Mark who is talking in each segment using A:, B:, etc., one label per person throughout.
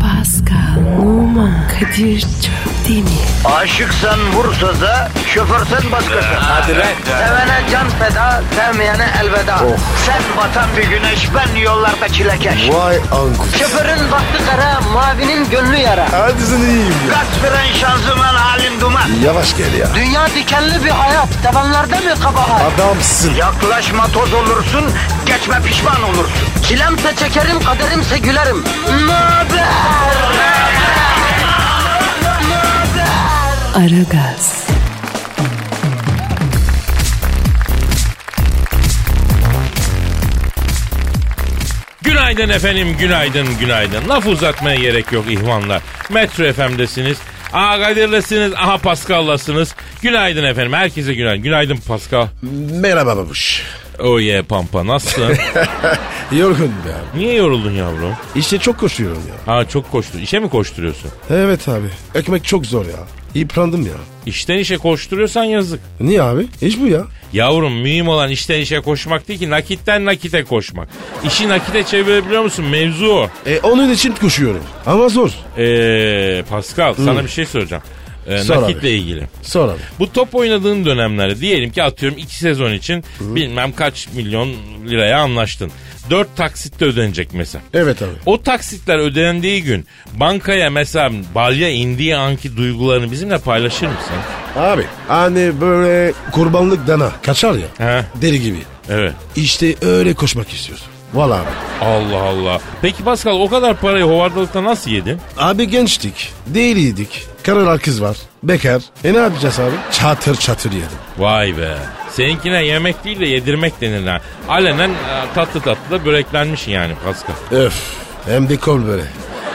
A: Pascal, Oman, Kadir çok değil mi?
B: Aşıksan vursa da şoförsen başkasın. Hadi
C: lan. Oh.
B: Sevene can feda, sevmeyene elveda. Sen batan bir güneş, ben yollarda çilekeş.
C: Vay anku.
B: Şoförün baktı kara, mavinin gönlü yara.
C: Hadi sen iyiyim ya.
B: Kasperen şanzıman halin duman.
C: Yavaş gel ya.
B: Dünya dikenli bir hayat, sevenlerde mi kabahar?
C: Adamsın.
B: Yaklaşma toz olursun, geçme pişman olursun. Çilemse çekerim, kaderimse gülerim. Möber!
A: Aragaz,
D: Günaydın efendim, günaydın, günaydın. Laf uzatmaya gerek yok ihvanlar. Metro FM'desiniz. Aha Kadir'lesiniz, aha Pascal'lasınız. Günaydın efendim, herkese günaydın. Günaydın Pascal.
C: Merhaba babuş.
D: Oye pampa, nasılsın?
C: Yorgun ya.
D: Niye yoruldun yavrum?
C: İşte çok koşuyorum ya.
D: Aa çok koştu. İşe mi koşturuyorsun?
C: Evet abi. Ekmek çok zor ya. Yıprandım ya.
D: İşten işe koşturuyorsan yazık.
C: Niye abi? İş bu ya.
D: Yavrum mühim olan işten işe koşmak değil ki nakitten nakite koşmak. İşi nakite çevirebiliyor musun? Mevzu o.
C: E, onun için koşuyorum. Ama zor.
D: Ee, Pascal sana bir şey soracağım. Ee,
C: Sor abi.
D: nakitle ilgili.
C: Sonra abi.
D: Bu top oynadığın dönemlerde diyelim ki atıyorum 2 sezon için bilmem kaç milyon liraya anlaştın. 4 taksitte ödenecek mesela.
C: Evet abi.
D: O taksitler ödendiği gün bankaya mesela balya indiği anki duygularını bizimle paylaşır mısın?
C: Abi hani böyle kurbanlık dana kaçar ya.
D: He.
C: Deli gibi.
D: Evet.
C: İşte öyle koşmak istiyorsun. Valla abi.
D: Allah Allah. Peki Pascal o kadar parayı hovardalıkta nasıl yedin?
C: Abi gençtik. Değiliydik. Karılar kız var. Bekar. E ne yapacağız abi? Çatır çatır yedim.
D: Vay be. Seninkine yemek değil de yedirmek denir ha. Alenen e, tatlı tatlı da böreklenmiş yani Pascal.
C: Öf. Hem de kol böyle.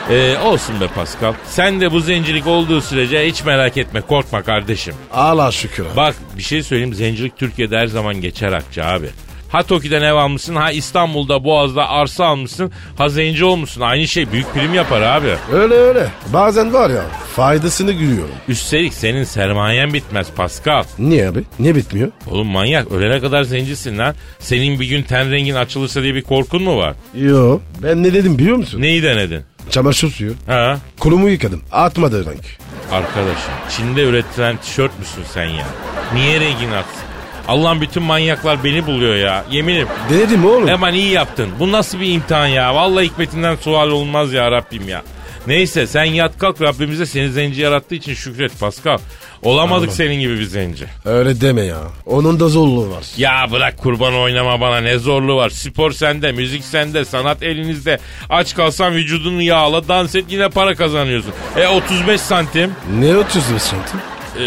D: Ee, olsun be Pascal. Sen de bu zencilik olduğu sürece hiç merak etme korkma kardeşim.
C: Allah şükür abi.
D: Bak bir şey söyleyeyim zencilik Türkiye'de her zaman geçer akça abi. Ha Toki'den ev almışsın, ha İstanbul'da Boğaz'da arsa almışsın, ha zenci olmuşsun. Aynı şey büyük prim yapar abi.
C: Öyle öyle. Bazen var ya faydasını görüyorum.
D: Üstelik senin sermayen bitmez Pascal.
C: Niye abi? Niye bitmiyor?
D: Oğlum manyak ölene kadar zencisin lan. Senin bir gün ten rengin açılırsa diye bir korkun mu var?
C: Yo. Ben ne dedim biliyor musun?
D: Neyi denedin?
C: Çamaşır suyu.
D: Ha?
C: Kolumu yıkadım. Atmadı renk.
D: Arkadaşım Çin'de üretilen tişört müsün sen ya? Niye rengin atsın? Allah'ın bütün manyaklar beni buluyor ya. Yeminim.
C: Denedim oğlum.
D: Hemen iyi yaptın. Bu nasıl bir imtihan ya? Vallahi hikmetinden sual olmaz ya Rabbim ya. Neyse sen yat kalk Rabbimize seni zenci yarattığı için şükret Pascal. Olamadık senin gibi bir zenci.
C: Öyle deme ya. Onun da zorluğu var.
D: Ya bırak kurban oynama bana ne zorluğu var. Spor sende, müzik sende, sanat elinizde. Aç kalsan vücudunu yağla, dans et yine para kazanıyorsun. E 35 santim.
C: Ne ötüyorsun santim?
D: E,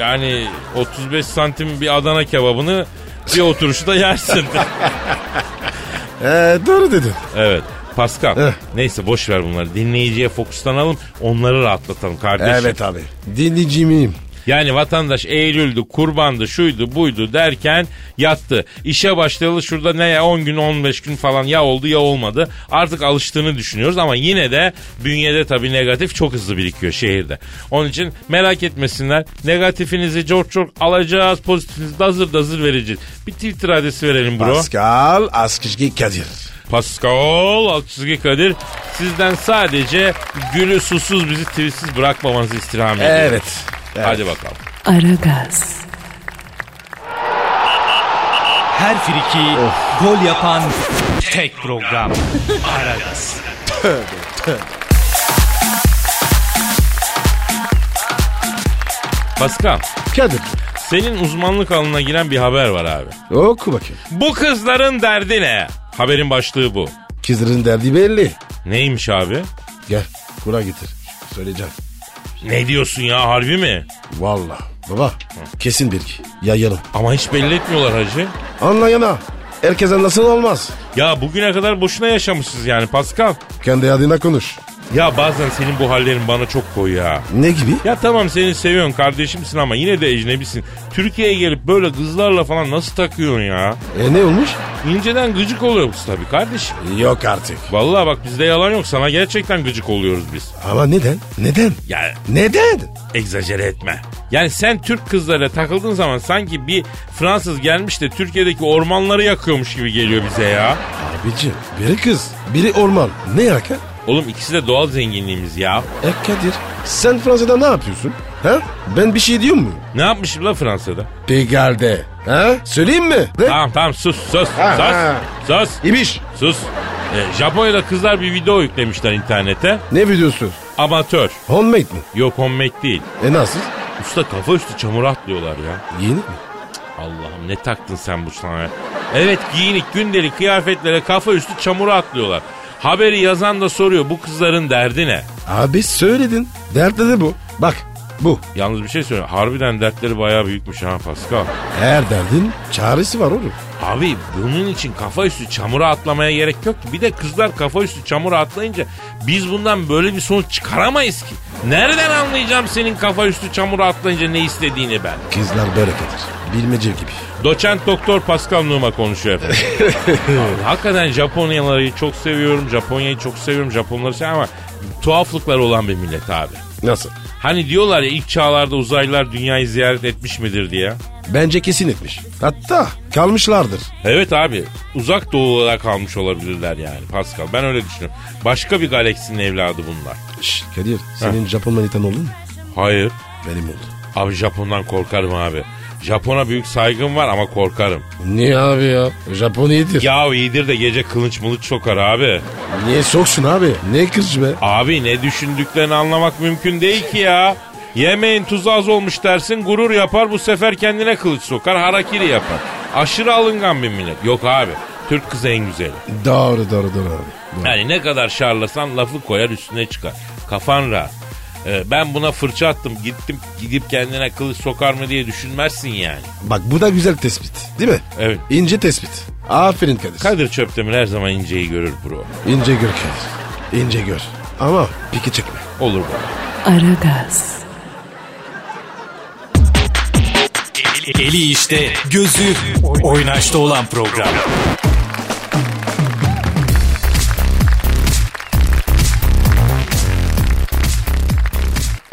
D: yani 35 santim bir Adana kebabını bir oturuşta yersin.
C: Ee, doğru dedin.
D: Evet. Pascal.
C: Heh.
D: Neyse boş ver bunları. Dinleyiciye fokuslanalım. Onları rahatlatalım kardeşim.
C: Evet abi. Dinleyici miyim?
D: Yani vatandaş Eylül'dü, kurbandı, şuydu, buydu derken yattı. İşe başlayalı şurada ne ya 10 gün 15 gün falan ya oldu ya olmadı. Artık alıştığını düşünüyoruz ama yine de bünyede tabii negatif çok hızlı birikiyor şehirde. Onun için merak etmesinler. Negatifinizi çok çok alacağız. Pozitifinizi de hazır da hazır vereceğiz. Bir Twitter adresi verelim bro.
C: Pascal Askışki Kadir.
D: Pascal Altçizgi Kadir sizden sadece gülü susuz bizi tweetsiz bırakmamanızı istirham ediyorum.
C: Evet. evet.
D: Hadi bakalım.
A: Aragaz,
E: Her friki gol yapan tek program. Aragaz.
D: Pascal
C: Kadir.
D: senin uzmanlık alanına giren bir haber var abi.
C: Oku bakayım.
D: Bu kızların derdi ne? Haberin başlığı bu.
C: Kızların derdi belli.
D: Neymiş abi?
C: Gel. Kura getir. Söyleyeceğim.
D: Ne diyorsun ya harbi mi?
C: Valla. Baba. Kesin bilgi. Ya yarın.
D: Ama hiç belli etmiyorlar hacı.
C: Anlayana. Herkes anlasın olmaz.
D: Ya bugüne kadar boşuna yaşamışsınız yani Pascal.
C: Kendi adına konuş.
D: Ya bazen senin bu hallerin bana çok koyuyor ha.
C: Ne gibi?
D: Ya tamam seni seviyorum kardeşimsin ama yine de ecnebisin. Türkiye'ye gelip böyle kızlarla falan nasıl takıyorsun ya?
C: E ne olmuş?
D: İnceden gıcık oluyoruz tabii kardeşim.
C: Yok artık.
D: Vallahi bak bizde yalan yok sana gerçekten gıcık oluyoruz biz.
C: Ama neden? Neden?
D: Ya
C: Neden?
D: egzajere etme. Yani sen Türk kızlarıyla takıldığın zaman sanki bir Fransız gelmiş de Türkiye'deki ormanları yakıyormuş gibi geliyor bize ya.
C: Abicim biri kız, biri orman. Ne yaka?
D: Oğlum ikisi de doğal zenginliğimiz ya.
C: E Kadir sen Fransa'da ne yapıyorsun? Ha? Ben bir şey diyor muyum?
D: Ne yapmışım la Fransa'da?
C: Pegarde. Ha? Söyleyeyim mi? Ne?
D: Tamam tamam sus sus
C: Ha, ha.
D: sus sus
C: İbiş.
D: sus. Ee, Japonya'da kızlar bir video yüklemişler internete.
C: Ne biliyorsun?
D: Amatör.
C: Homemade mi?
D: Yok homemade değil.
C: E nasıl?
D: Usta kafa üstü çamur atlıyorlar ya.
C: Yeni mi?
D: Allah'ım ne taktın sen bu sana? Evet giyinik gündelik kıyafetlere kafa üstü çamura atlıyorlar. Haberi yazan da soruyor bu kızların derdi ne?
C: Abi söyledin. Dertte de bu. Bak bu.
D: Yalnız bir şey söyleyeyim. Harbiden dertleri bayağı büyükmüş ha Pascal.
C: Her derdin çaresi var oğlum.
D: Abi bunun için kafa üstü çamura atlamaya gerek yok ki. Bir de kızlar kafa üstü çamura atlayınca biz bundan böyle bir sonuç çıkaramayız ki. Nereden anlayacağım senin kafa üstü çamura atlayınca ne istediğini ben?
C: Kızlar böyle Kadir. Bilmece gibi.
D: Doçent Doktor Pascal Numa konuşuyor efendim. Abi, hakikaten Japonyaları çok seviyorum. Japonya'yı çok seviyorum. Japonları seviyorum ama tuhaflıklar olan bir millet abi.
C: Nasıl?
D: Hani diyorlar ya ilk çağlarda uzaylılar dünyayı ziyaret etmiş midir diye.
C: Bence kesin etmiş. Hatta kalmışlardır.
D: Evet abi uzak doğu olarak kalmış olabilirler yani Pascal. Ben öyle düşünüyorum. Başka bir galaksinin evladı bunlar.
C: Şş, Kadir senin Japon manitan oldu mu?
D: Hayır.
C: Benim oldu.
D: Abi Japon'dan korkarım abi. Japona büyük saygım var ama korkarım.
C: Niye abi ya? Japon iyidir.
D: Ya iyidir de gece kılıç mılıç sokar abi.
C: Niye soksun abi? Ne kırıcı be?
D: Abi ne düşündüklerini anlamak mümkün değil ki ya. Yemeğin tuzu az olmuş dersin gurur yapar bu sefer kendine kılıç sokar harakiri yapar. Aşırı alıngan bir millet. Yok abi Türk kızı en güzeli.
C: Doğru doğru doğru abi. Doğru.
D: Yani ne kadar şarlasan lafı koyar üstüne çıkar. Kafan rahat. Ee, ben buna fırça attım gittim gidip kendine kılıç sokar mı diye düşünmezsin yani.
C: Bak bu da güzel tespit değil mi?
D: Evet.
C: İnce tespit. Aferin Kadir.
D: Kadir Çöptemir her zaman inceyi görür bro.
C: İnce gör Kadir. İnce gör. Ama piki çekme.
D: Olur baba.
A: Aragaz,
E: Eli, eli işte, gözü oynaşta olan program.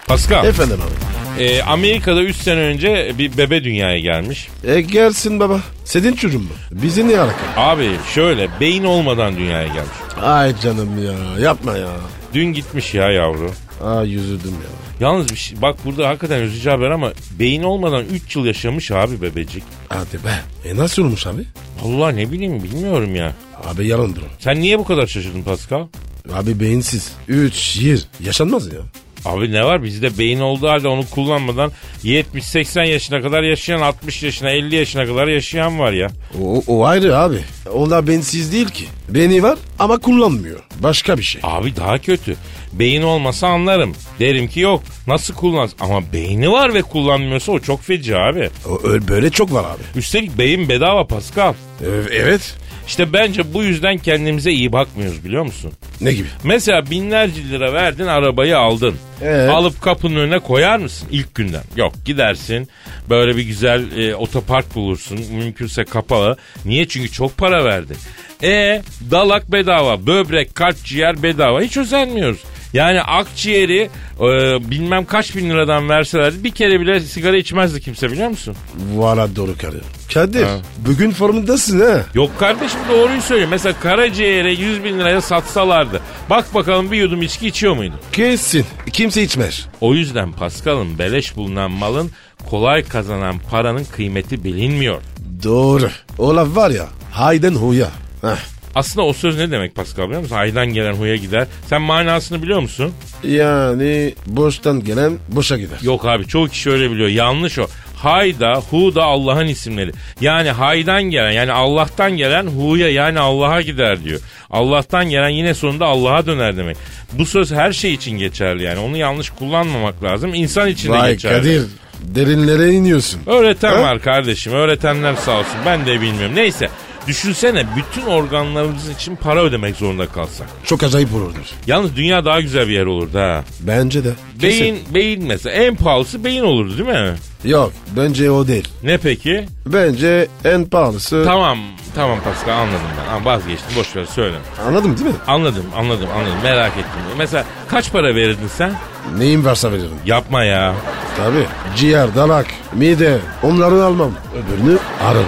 D: Pascal,
C: Efendim abi.
D: e, Amerika'da 3 sene önce bir bebe dünyaya gelmiş.
C: E gelsin baba. Senin çocuğun mu? Bizi ne alaka?
D: Abi şöyle beyin olmadan dünyaya gelmiş.
C: Ay canım ya yapma ya.
D: Dün gitmiş ya yavru.
C: Ay üzüldüm ya.
D: Yalnız bir şey, bak burada hakikaten üzücü haber ama beyin olmadan 3 yıl yaşamış abi bebecik.
C: Hadi be. E nasıl olmuş abi?
D: Vallahi ne bileyim bilmiyorum ya.
C: Abi yalandır o.
D: Sen niye bu kadar şaşırdın Pascal?
C: Abi beyinsiz. 3 yıl. Yaşanmaz ya.
D: Abi ne var bizde beyin olduğu halde onu kullanmadan 70-80 yaşına kadar yaşayan 60 yaşına 50 yaşına kadar yaşayan var ya.
C: O, o ayrı abi. Onlar bensiz değil ki. Beni var ama kullanmıyor. Başka bir şey.
D: Abi daha kötü. Beyin olmasa anlarım. Derim ki yok. Nasıl kullan? Ama beyni var ve kullanmıyorsa o çok feci abi.
C: O, ö- böyle çok var abi.
D: Üstelik beyin bedava Pascal.
C: E- evet.
D: İşte bence bu yüzden kendimize iyi bakmıyoruz biliyor musun?
C: Ne gibi?
D: Mesela binlerce lira verdin arabayı aldın.
C: Evet.
D: Alıp kapının önüne koyar mısın ilk günden? Yok gidersin böyle bir güzel e, otopark bulursun mümkünse kapalı. Niye? Çünkü çok para verdin. E dalak bedava, böbrek, kalp, ciğer bedava hiç özenmiyoruz. Yani akciğeri e, bilmem kaç bin liradan verselerdi bir kere bile sigara içmezdi kimse biliyor musun?
C: Valla doğru karı. Kadir bugün formundasın ha.
D: Yok kardeşim doğruyu söylüyor. Mesela karaciğere 100 bin liraya satsalardı. Bak bakalım bir yudum içki içiyor muydu?
C: Kesin. Kimse içmez.
D: O yüzden Pascal'ın beleş bulunan malın kolay kazanan paranın kıymeti bilinmiyor.
C: Doğru. O laf var ya. Hayden huya. Heh.
D: Aslında o söz ne demek Pascal biliyor musun? Aydan gelen huya gider. Sen manasını biliyor musun?
C: Yani boştan gelen boşa gider.
D: Yok abi çoğu kişi öyle biliyor. Yanlış o. Hayda, hu da Allah'ın isimleri. Yani haydan gelen yani Allah'tan gelen huya yani Allah'a gider diyor. Allah'tan gelen yine sonunda Allah'a döner demek. Bu söz her şey için geçerli yani. Onu yanlış kullanmamak lazım. İnsan için de
C: Vay
D: geçerli.
C: Kadir. Derinlere iniyorsun.
D: Öğreten
C: Ha?
D: var kardeşim. Öğretenler sağ olsun. Ben de bilmiyorum. Neyse. Düşünsene bütün organlarımız için para ödemek zorunda kalsak.
C: Çok acayip olurdur.
D: Yalnız dünya daha güzel bir yer olurdu ha.
C: Bence de. Kesin.
D: Beyin, beyin mesela en pahalısı beyin olurdu değil mi?
C: Yok bence o değil.
D: Ne peki?
C: Bence en pahalısı.
D: Tamam, tamam Pascal anladım ben. Ama vazgeçtim boş ver söyle.
C: Anladım değil mi?
D: Anladım, anladım, anladım. Merak ettim. Mesela kaç para verirdin sen?
C: Neyim varsa veririm.
D: Yapma ya.
C: Tabii. Ciğer, dalak, mide onları almam. Öbürünü ararım.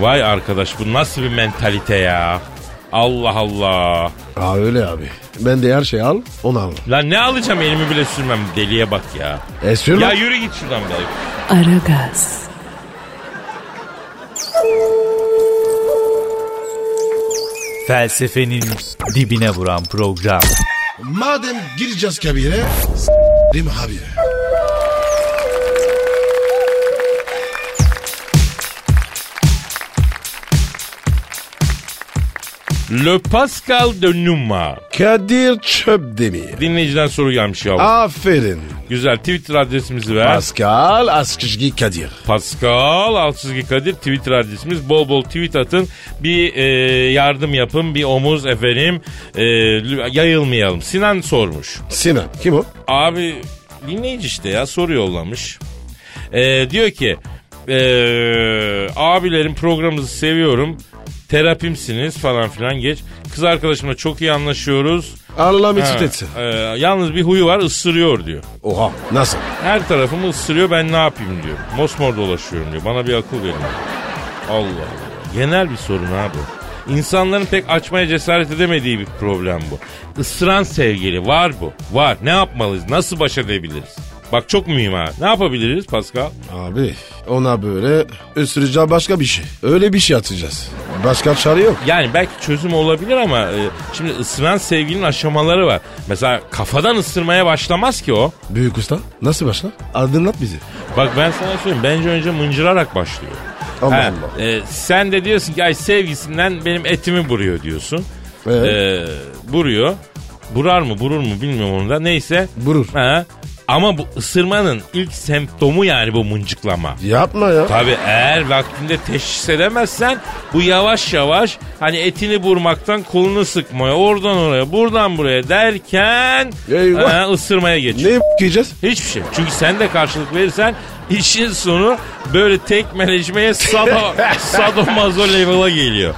D: Vay arkadaş bu nasıl bir mentalite ya. Allah Allah.
C: Aa öyle abi. Ben de her şeyi al onu al.
D: Lan ne alacağım elimi bile sürmem deliye bak ya.
C: E sürme.
D: Ya yürü git şuradan be.
A: Aragaz,
E: Felsefenin dibine vuran program.
C: Madem gireceğiz kabire. Değil mi abi?
D: Le Pascal de Numa.
C: Kadir Çöpdemir.
D: Dinleyiciden soru gelmiş ya.
C: Aferin.
D: Güzel Twitter adresimizi ver.
C: Pascal Askışgi Kadir.
D: Pascal Altsızgi Kadir Twitter adresimiz. Bol bol tweet atın. Bir e, yardım yapın. Bir omuz efendim. E, lü- yayılmayalım. Sinan sormuş.
C: Sinan. Kim o?
D: Abi dinleyici işte ya soru yollamış. E, diyor ki e, abilerin programınızı seviyorum. Terapimsiniz falan filan geç. Kız arkadaşımla çok iyi anlaşıyoruz.
C: Allah mesut
D: Ha,
C: etsin.
D: e, yalnız bir huyu var ısırıyor diyor.
C: Oha. Nasıl?
D: Her tarafımı ısırıyor ben ne yapayım diyor. Mosmor dolaşıyorum diyor. Bana bir akıl verin. diyor. Allah Allah. Genel bir sorun abi. İnsanların pek açmaya cesaret edemediği bir problem bu. Isıran sevgili var bu. Var. Ne yapmalıyız? Nasıl baş edebiliriz? Bak çok mühim ha. Ne yapabiliriz Pascal?
C: Abi ona böyle ısıracağım başka bir şey. Öyle bir şey atacağız. Başka çare yok.
D: Yani belki çözüm olabilir ama e, şimdi ısıran sevginin aşamaları var. Mesela kafadan ısırmaya başlamaz ki o.
C: Büyük usta nasıl başla? Aydınlat bizi.
D: Bak ben sana söyleyeyim. Bence önce mıncırarak başlıyor.
C: Allah
D: Ha,
C: Allah.
D: e, sen de diyorsun ki ay sevgisinden benim etimi buruyor diyorsun.
C: Evet.
D: E, buruyor. Burar mı burur mu bilmiyorum onu da. Neyse.
C: Burur.
D: Ha, ama bu ısırmanın ilk semptomu yani bu mıncıklama.
C: Yapma ya.
D: Tabi eğer vaktinde teşhis edemezsen bu yavaş yavaş hani etini burmaktan kolunu sıkmaya oradan oraya buradan buraya derken
C: Eyvah.
D: ha, ısırmaya
C: ne
D: geçiyor.
C: yiyeceğiz?
D: Hiçbir şey. Çünkü sen de karşılık verirsen işin sonu böyle tekmeleşmeye sado, sadomazo level'a geliyor.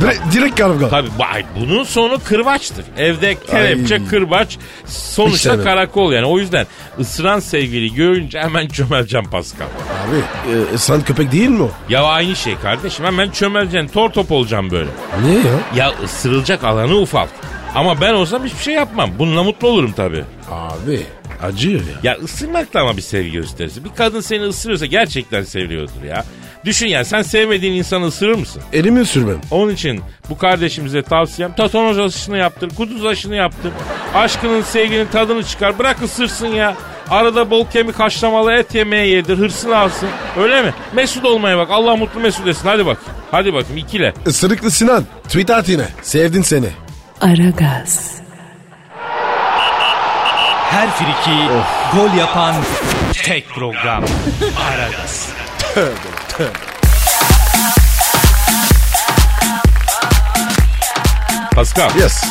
C: Dire- direkt kavga.
D: Tabii vay, bunun sonu kırbaçtır. Evde kelepçe,
C: Ay.
D: kırbaç sonuçta
C: İşte.
D: karakol yani. O yüzden ısıran sevgili görünce hemen çömeleceğim Pascal.
C: Abi e, sen köpek değil mi o?
D: Ya aynı şey kardeşim hemen çömeleceksin tor top olacağım böyle.
C: Niye ya?
D: Ya ısırılacak alanı ufalt. Ama ben olsam hiçbir şey yapmam. Bununla mutlu olurum tabii.
C: Abi acıyor ya.
D: Ya ısırmak da ama bir sevgi gösterisi. Bir kadın seni ısırıyorsa gerçekten seviyordur ya. Düşün yani sen sevmediğin insanı ısırır mısın?
C: Elimi sürmem.
D: Onun için bu kardeşimize tavsiyem tatanoz aşısını yaptır, kuduz aşını yaptır. Aşkının sevginin tadını çıkar bırak ısırsın ya. Arada bol kemik haşlamalı et yemeği yedir hırsını alsın. Öyle mi? Mesut olmaya bak Allah mutlu mesut etsin hadi bak. Hadi bakayım ikile.
C: Isırıklı Sinan. Tweet at yine. Sevdin seni.
A: Aragaz,
E: Her friki gol yapan tek program. Aragaz.
D: Pascal.
C: Yes.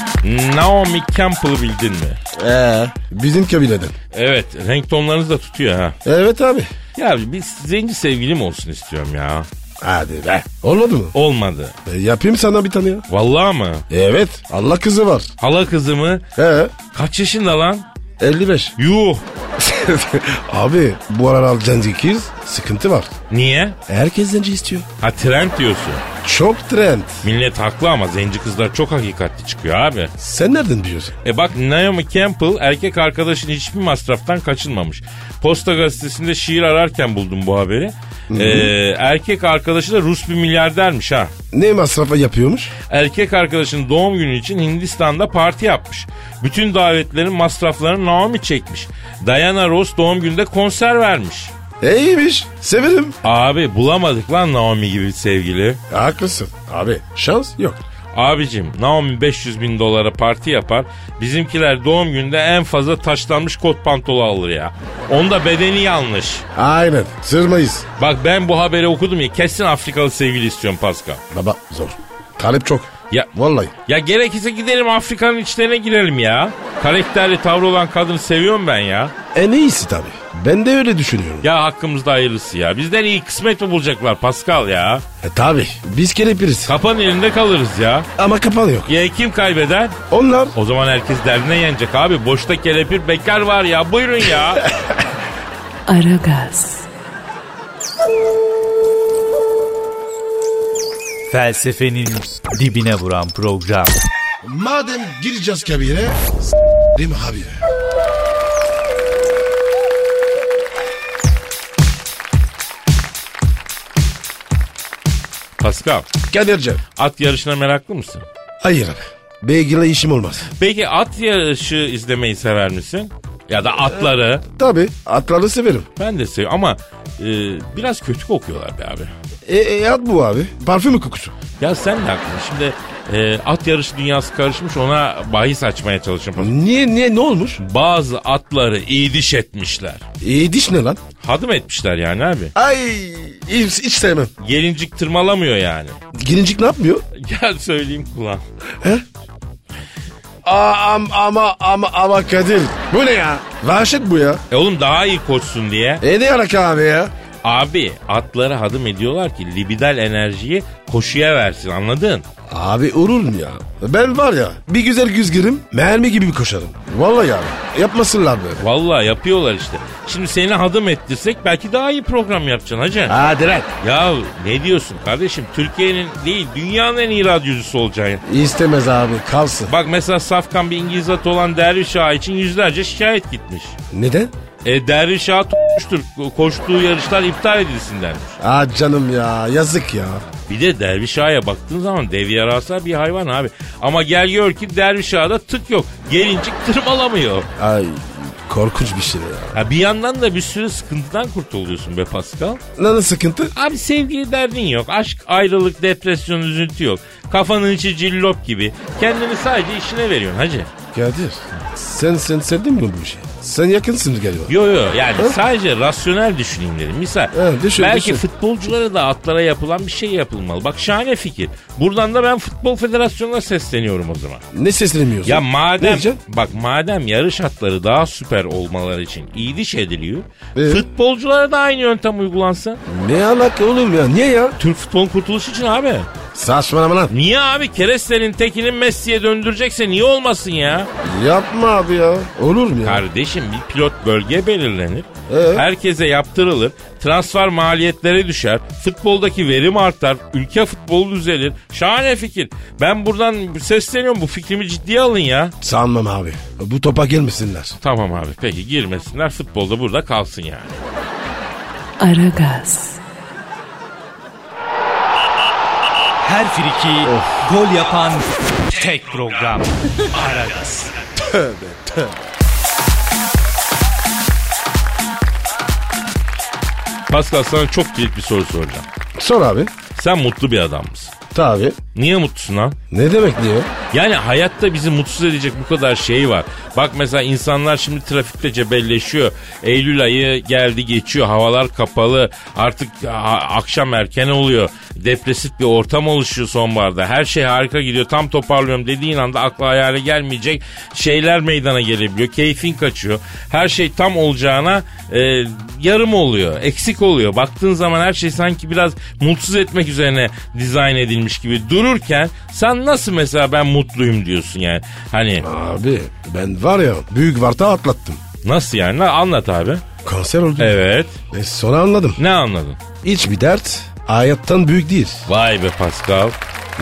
D: Naomi Campbell'ı bildin mi?
C: Ee, bizim kabileden.
D: Evet renk tonlarınız da tutuyor ha.
C: Evet abi.
D: Ya bir zenci sevgilim olsun istiyorum ya.
C: Hadi be. Olmadı mı?
D: Olmadı.
C: E, yapayım sana bir tane ya.
D: Vallahi mı?
C: Evet. Allah kızı var.
D: Hala kızımı
C: He.
D: kaç yaşında lan?
C: 55.
D: Yuh.
C: abi bu aralar zenci kız sıkıntı var.
D: Niye?
C: Herkes zenci istiyor.
D: Ha trend diyorsun.
C: Çok trend.
D: Millet haklı ama zenci kızlar çok hakikatli çıkıyor abi.
C: Sen nereden biliyorsun?
D: E bak Naomi Campbell erkek arkadaşının hiçbir masraftan kaçınmamış. Posta gazetesinde şiir ararken buldum bu haberi. Ee, erkek arkadaşı da Rus bir milyardermiş ha.
C: Ne masrafa yapıyormuş?
D: Erkek arkadaşının doğum günü için Hindistan'da parti yapmış. Bütün davetlerin masraflarını Naomi çekmiş. Diana Ross doğum gününde konser vermiş.
C: E, İyiymiş. Severim.
D: Abi bulamadık lan Naomi gibi bir sevgili.
C: Haklısın. Abi şans yok.
D: Abicim Naomi 500 bin dolara parti yapar. Bizimkiler doğum günde en fazla taşlanmış kot pantolu alır ya. Onda bedeni yanlış.
C: Aynen. Sırmayız.
D: Bak ben bu haberi okudum ya kesin Afrikalı sevgili istiyorum Pascal.
C: Baba zor. Talep çok.
D: Ya
C: Vallahi.
D: ya gerekirse gidelim Afrika'nın içlerine girelim ya. Karakterli tavrı olan kadını seviyorum ben ya.
C: En iyisi E, tabii. Ben de öyle düşünüyorum.
D: Ya hakkımızda hayırlısı ya. Bizden iyi kısmet mi bulacaklar Pascal ya?
C: E tabii. Biz kelepiriz.
D: Kapan elinde kalırız ya.
C: Ama kapan yok.
D: Ya kim kaybeder?
C: Onlar
D: O zaman herkes derdine yenecek abi. Boşta kelepir bekar var ya. Buyurun ya.
A: Aragaz,
E: Felsefenin dibine vuran program.
C: Madem gireceğiz kabire. Değil mi abi?
D: Pascal
C: Kadir'cim.
D: at yarışına meraklı mısın?
C: Hayır abi. Beygirle işim olmaz.
D: Peki at yarışı izlemeyi sever misin? Ya da atları.
C: Tabi atları severim.
D: Ben de seviyorum ama e, biraz kötü kokuyorlar be abi.
C: E, e, at bu abi. Parfüm kokusu.
D: Ya sen de haklısın. Şimdi e, at yarışı dünyası karışmış ona bahis açmaya çalışıyorum.
C: Niye niye ne olmuş?
D: Bazı atları idiş etmişler.
C: E, diş ne lan?
D: Hadım etmişler yani abi.
C: Ay hiç, hiç sevmem.
D: Gelincik tırmalamıyor yani.
C: Gelincik ne yapmıyor?
D: Gel söyleyeyim kulağım.
C: Aa, am, ama ama ama Kadir. Bu ne ya? Vahşet bu ya.
D: E oğlum daha iyi koşsun diye.
C: E ne yarak abi ya?
D: Abi atları hadım ediyorlar ki libidal enerjiyi koşuya versin anladın?
C: Abi olur mu ya? Ben var ya bir güzel güzgürüm mermi gibi koşarım. Vallahi abi yapmasınlar böyle.
D: Vallahi yapıyorlar işte. Şimdi seni hadım ettirsek belki daha iyi program yapacaksın hacı.
C: Hadi lan.
D: Ya ne diyorsun kardeşim? Türkiye'nin değil dünyanın en iyi radyocusu olacaksın.
C: İstemez abi kalsın.
D: Bak mesela Safkan bir İngiliz atı olan Derviş Ağa için yüzlerce şikayet gitmiş.
C: Neden?
D: E Derviş Ağa tutmuştur. Koştuğu yarışlar iptal edilsin dermiş.
C: Aa canım ya yazık ya.
D: Bir de Derviş Ağa'ya baktığın zaman dev yarasa bir hayvan abi. Ama gel gör ki Derviş Ağa'da tık yok. Gelincik tırmalamıyor.
C: Ay korkunç bir şey ya.
D: Ha bir yandan da bir sürü sıkıntıdan kurtuluyorsun be Pascal.
C: Nasıl sıkıntı?
D: Abi sevgili derdin yok. Aşk, ayrılık, depresyon, üzüntü yok. Kafanın içi cillop gibi. Kendini sadece işine veriyorsun hacı.
C: Kadir sen sen sevdin mi bu işi? Sen yakınsın galiba.
D: Yo yo yani
C: Hı?
D: sadece rasyonel düşüneyim dedim. Misal
C: Evet, düşün,
D: belki
C: düşün.
D: futbolculara da atlara yapılan bir şey yapılmalı. Bak şahane fikir. Buradan da ben Futbol Federasyonu'na sesleniyorum o zaman.
C: Ne seslenemiyorsun?
D: Ya
C: Ne
D: madem
C: diyeceksin?
D: bak madem yarış atları daha süper olmaları için iyiliş ediliyor.
C: Ee?
D: Futbolculara da aynı yöntem uygulansın.
C: Ne alaka oğlum ya? Niye ya?
D: Türk futbolun kurtuluşu için abi.
C: Saçmalama lan.
D: Niye abi Kereste'nin tekinin Messi'ye döndürecekse niye olmasın ya?
C: Yapma abi ya. Olur mu ya?
D: Kardeşim bir pilot bölge belirlenir.
C: Ee?
D: Herkese yaptırılır. Transfer maliyetleri düşer. Futboldaki verim artar. Ülke futbolu düzelir. Şahane fikir. Ben buradan sesleniyorum. Bu fikrimi ciddiye alın ya.
C: Sanmam abi. Bu topa gelmesinler.
D: Tamam abi peki girmesinler. Futbolda burada kalsın yani.
A: Aragaz,
E: Her friki gol yapan tek program. Aragaz.
D: Pascal sana çok kilit bir soru soracağım.
C: Sor abi.
D: Sen mutlu bir adam mısın?
C: Tabi.
D: Niye mutlusun lan?
C: Ne demek diyor?
D: Yani hayatta bizi mutsuz edecek bu kadar şey var. Bak mesela insanlar şimdi trafikte cebelleşiyor. Eylül ayı geldi geçiyor. Havalar kapalı. Artık a- akşam erken oluyor. Depresif bir ortam oluşuyor sonbaharda. Her şey harika gidiyor. Tam toparlıyorum dediğin anda akla hayale gelmeyecek şeyler meydana gelebiliyor. Keyfin kaçıyor. Her şey tam olacağına e, yarım oluyor. Eksik oluyor. Baktığın zaman her şey sanki biraz mutsuz etmek üzerine dizayn edilmiş gibi dururken sen nasıl mesela ben mutluyum diyorsun yani. Hani
C: Abi ben var ya büyük varta atlattım.
D: nasıl yani? Lan Anlat abi.
C: Kanser oldum.
D: Evet.
C: E, sonra anladım.
D: Ne anladın?
C: Hiçbir dert hayattan büyük değil.
D: Vay be Pascal.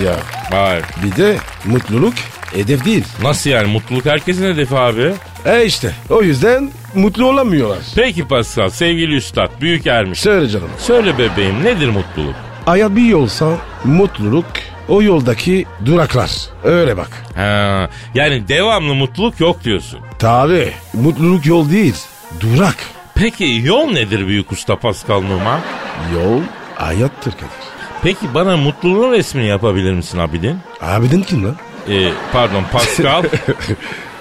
C: Ya
D: Vay.
C: bir de mutluluk hedef değil.
D: Nasıl yani? Mutluluk herkesin hedefi abi.
C: E işte o yüzden mutlu olamıyorlar.
D: Peki Pascal sevgili üstad büyük ermiş.
C: Söyle canım.
D: Söyle bebeğim nedir mutluluk?
C: Aya bir yolsa mutluluk o yoldaki duraklar. Öyle bak.
D: Ha, yani devamlı mutluluk yok diyorsun.
C: Tabi mutluluk yol değil durak.
D: Peki yol nedir büyük usta Pascal Numa?
C: Yol hayattır Kadir.
D: Peki bana mutluluğun resmini yapabilir misin abidin?
C: Abidin kim lan?
D: Ee, pardon Pascal.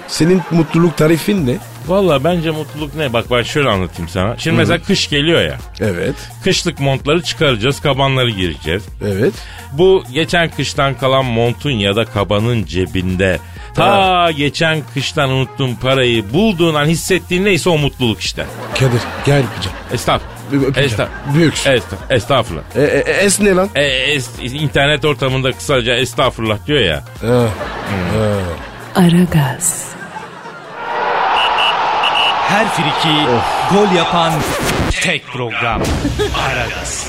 C: Senin mutluluk tarifin ne?
D: Valla bence mutluluk ne? Bak ben şöyle anlatayım sana. Şimdi mesela kış geliyor ya.
C: Evet.
D: Kışlık montları çıkaracağız, kabanları gireceğiz.
C: Evet.
D: Bu geçen kıştan kalan montun ya da kabanın cebinde. Ta geçen kıştan unuttuğun parayı bulduğun an hissettiğin neyse o mutluluk işte.
C: Kadir gel yapacağım.
D: Estağfurullah.
C: Öpeceğim.
D: Estağfurullah.
C: Büyüksün.
D: Estağfurullah. Estağfurullah.
C: E, e, es ne lan?
D: E, es- internet ortamında kısaca estağfurullah diyor ya.
C: Ha,
A: Aragaz,
E: Her friki gol yapan tek program. Aragaz.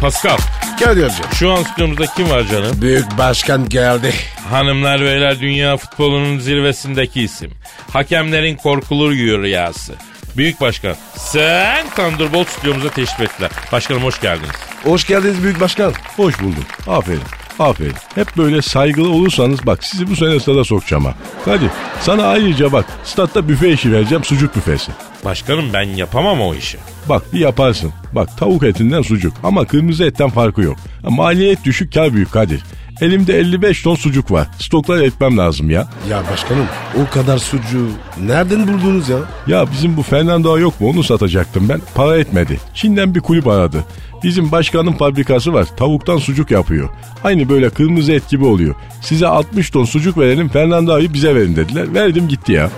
D: Pascal
C: Geldi hocam.
D: şu an stüdyomuzda kim var canım?
C: Büyük başkan geldi.
D: Hanımlar beyler dünya futbolunun zirvesindeki isim. Hakemlerin korkulur rüyası. Büyük Başkan sen Thunderbolt stüdyomuza teşrif ettiler. Başkanım hoş geldiniz.
C: Hoş geldiniz büyük başkan.
F: Hoş bulduk. Aferin. Aferin. Hep böyle saygılı olursanız bak sizi bu sene stada sokacağım ha. Hadi sana ayrıca bak statta büfe işi vereceğim sucuk büfesi.
D: Başkanım ben yapamam o işi.
F: Bak bir yaparsın. Bak tavuk etinden sucuk ama kırmızı etten farkı yok. Ha, Maliyet düşük kar büyük Kadir. Elimde 55 ton sucuk var. Stoklar etmem lazım ya.
C: Ya başkanım o kadar sucuğu nereden buldunuz ya?
F: Ya bizim bu Fernando yok mu onu satacaktım ben. Para etmedi. Çin'den bir kulüp aradı. Bizim başkanın fabrikası var. Tavuktan sucuk yapıyor. Aynı böyle kırmızı et gibi oluyor. Size 60 ton sucuk verelim Fernando'yu bize verin dediler. Verdim gitti ya.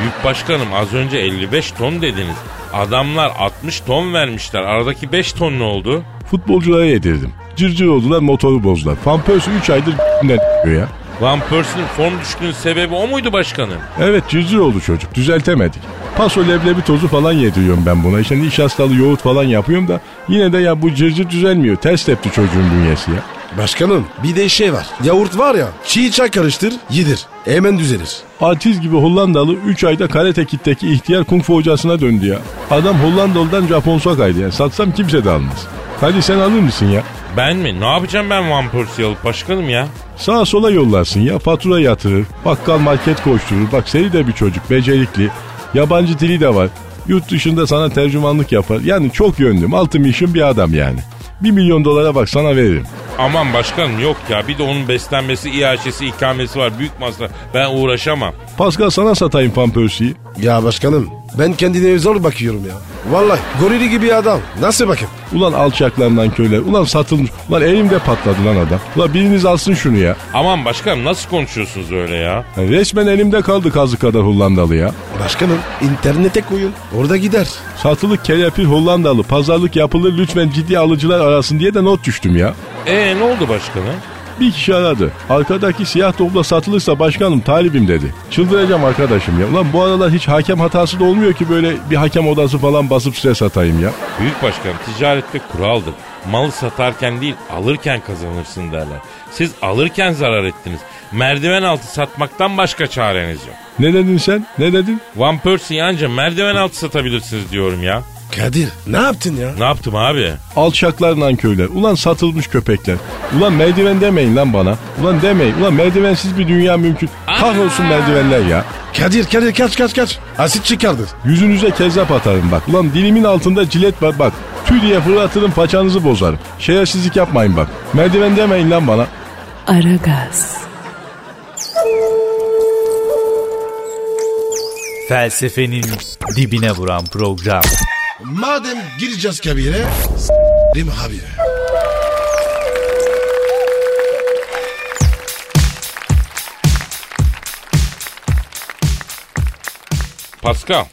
D: Büyük Başkanım az önce 55 ton dediniz. Adamlar 60 ton vermişler. Aradaki 5 ton ne oldu?
F: Futbolculara yedirdim. Cırcır oldular motoru bozdular. Pampers 3 aydır ne ya.
D: Van Persie'nin form düşkünün sebebi o muydu başkanım?
F: Evet cırcır oldu çocuk düzeltemedik. Paso leblebi tozu falan yediriyorum ben buna. İşte nişastalı yoğurt falan yapıyorum da yine de ya bu cırcır düzelmiyor. Ters tepti çocuğun bünyesi ya.
C: Başkanım bir de şey var. Yoğurt var ya çiğ çay karıştır yedir. Hemen düzelir.
F: Artist gibi Hollandalı 3 ayda karate kitteki ihtiyar kung fu hocasına döndü ya. Adam Hollandalı'dan Japon sokaydı ya. Satsam kimse de almaz. Hadi sen alır mısın ya?
D: Ben mi? Ne yapacağım ben Van Persie'yi alıp başkanım ya?
F: Sağa sola yollarsın ya. Fatura yatırır. Bakkal market koşturur. Bak seni de bir çocuk. Becerikli. Yabancı dili de var. Yurt dışında sana tercümanlık yapar. Yani çok yönlü. Altı mişin bir adam yani. 1 milyon dolara bak sana veririm.
D: Aman başkanım yok ya. Bir de onun beslenmesi, iaşesi, ikamesi var. Büyük masraf. Ben uğraşamam.
F: Pascal sana satayım Pampersi'yi.
C: Ya başkanım ben kendine zor bakıyorum ya. Vallahi gorili gibi adam. Nasıl bakayım?
F: Ulan alçaklarından köyler. Ulan satılmış. Ulan elimde patladı lan adam. Ulan biriniz alsın şunu ya.
D: Aman başkanım nasıl konuşuyorsunuz öyle ya?
F: Yani resmen elimde kaldı kazı kadar Hollandalı ya.
C: Başkanım internete koyun. Orada gider.
F: Satılık kelepir Hollandalı. Pazarlık yapılır lütfen ciddi alıcılar arasın diye de not düştüm ya.
D: E ne oldu başkanım?
F: Bir kişi aradı. Arkadaki siyah topla satılırsa başkanım talibim dedi. Çıldıracağım arkadaşım ya. Ulan bu aralar hiç hakem hatası da olmuyor ki böyle bir hakem odası falan basıp size satayım ya.
D: Büyük başkanım ticarette kuraldır. Malı satarken değil alırken kazanırsın derler. Siz alırken zarar ettiniz. Merdiven altı satmaktan başka çareniz yok.
F: Ne dedin sen? Ne dedin?
D: Van Persie'yi anca merdiven altı satabilirsiniz diyorum ya.
C: Kadir ne yaptın ya?
D: Ne yaptım abi?
F: Alçaklar nankörler. Ulan satılmış köpekler. Ulan merdiven demeyin lan bana. Ulan demeyin. Ulan merdivensiz bir dünya mümkün. Kahrolsun merdivenler ya.
C: Kadir Kadir kaç kaç kaç. Asit çıkardı.
F: Yüzünüze kezzap atarım bak. Ulan dilimin altında cilet var bak. Tüy diye fırlatırım paçanızı bozarım. Şerefsizlik yapmayın bak. Merdiven demeyin lan bana.
A: Aragaz,
E: Felsefenin dibine vuran program.
C: Madem gireceğiz kabire. Rim abi.
D: Pascal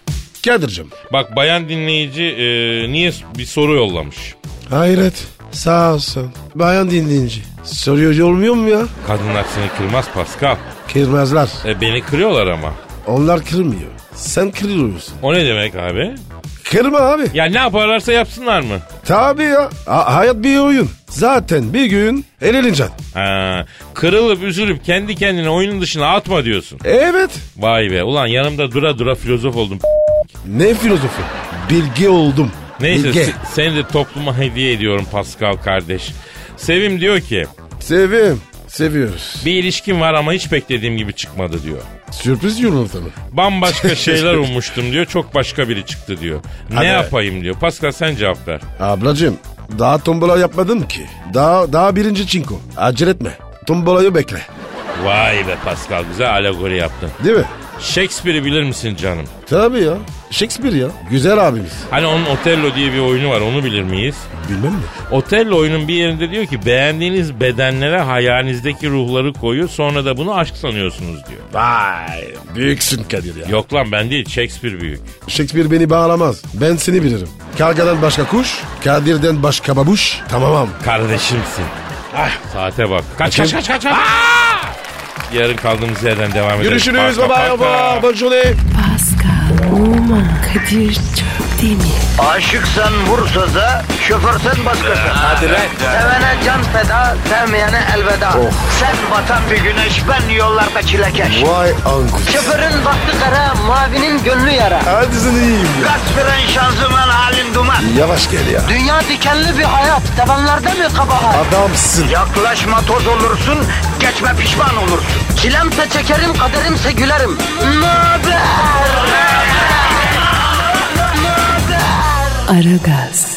C: Kadir'cim.
D: bak bayan dinleyici e, niye bir soru yollamış?
C: Hayret. Sağ olsun. Bayan dinleyici. Soruyor olmuyor mu ya?
D: Kadınlar seni kırmaz Pascal.
C: Kırmazlar.
D: E, beni kırıyorlar ama.
C: Onlar kırmıyor. Sen kırıyorsun.
D: O ne demek abi?
C: Kırma abi.
D: Ya ne yaparlarsa yapsınlar mı?
C: Tabii ya. Ha- hayat bir oyun. Zaten bir gün eleneceksin.
D: Ha, kırılıp üzülüp kendi kendine oyunun dışına atma diyorsun.
C: Evet.
D: Vay be ulan yanımda dura dura filozof oldum.
C: Ne filozofu? Bilge oldum.
D: Neyse
C: Bilge.
D: se- seni de topluma hediye ediyorum Pascal kardeş. Sevim diyor ki
C: Sevim. Seviyoruz.
D: bir ilişkin var ama hiç beklediğim gibi çıkmadı diyor.
C: Sürpriz yumurta mı?
D: Bambaşka şeyler ummuştum diyor çok başka biri çıktı diyor. Ne
C: Hadi.
D: yapayım diyor. Pascal sen cevap ver.
C: Ablacığım daha tombola yapmadım ki. Daha daha birinci çinko. Acele etme. Tombolayı bekle.
D: Vay be Pascal güzel alegori yaptın.
C: Değil mi?
D: Shakespeare'i bilir misin canım?
C: Tabii ya. Shakespeare ya. Güzel abimiz.
D: Hani onun Otello diye bir oyunu var onu bilir miyiz?
C: Bilmem mi?
D: Otello oyunun bir yerinde diyor ki beğendiğiniz bedenlere hayalinizdeki ruhları koyuyor sonra da bunu aşk sanıyorsunuz diyor.
C: Vay. Büyüksün Kadir ya.
D: Yok lan ben değil Shakespeare büyük.
C: Shakespeare beni bağlamaz. Ben seni bilirim. Kargadan başka kuş, Kadir'den başka babuş. Tamamam.
D: Kardeşimsin. Ah, Saate bak. Kaç kaç kaç kaç. kaç. Yarın kaldığımız yerden devam edelim.
C: Görüşürüz.
D: Paka,
C: Bye bye.
D: paka.
C: Bonne journée.
A: Pascal, Oman, Kadir çok değil mi?
B: Aşıksan vursa da, şoförsen başkasın. Hadi
D: lan.
B: Sevene can feda, sevmeyene elveda. Sen batan bir güneş, ben yollarda çilekeş.
C: Vay anku.
B: Şoförün baktı kara, mavinin gönlü yara.
C: Hadi sen iyiyim ya.
B: Kasperen şanzıman halin duman.
C: Yavaş gel ya.
B: Dünya dikenli bir hayat, sevenlerde mi kabahar?
C: Adamsın.
B: Yaklaşma toz olursun, geçme pişman olursun. Çilemse çekerim, kaderimse gülerim. Möber!
A: Aragaz.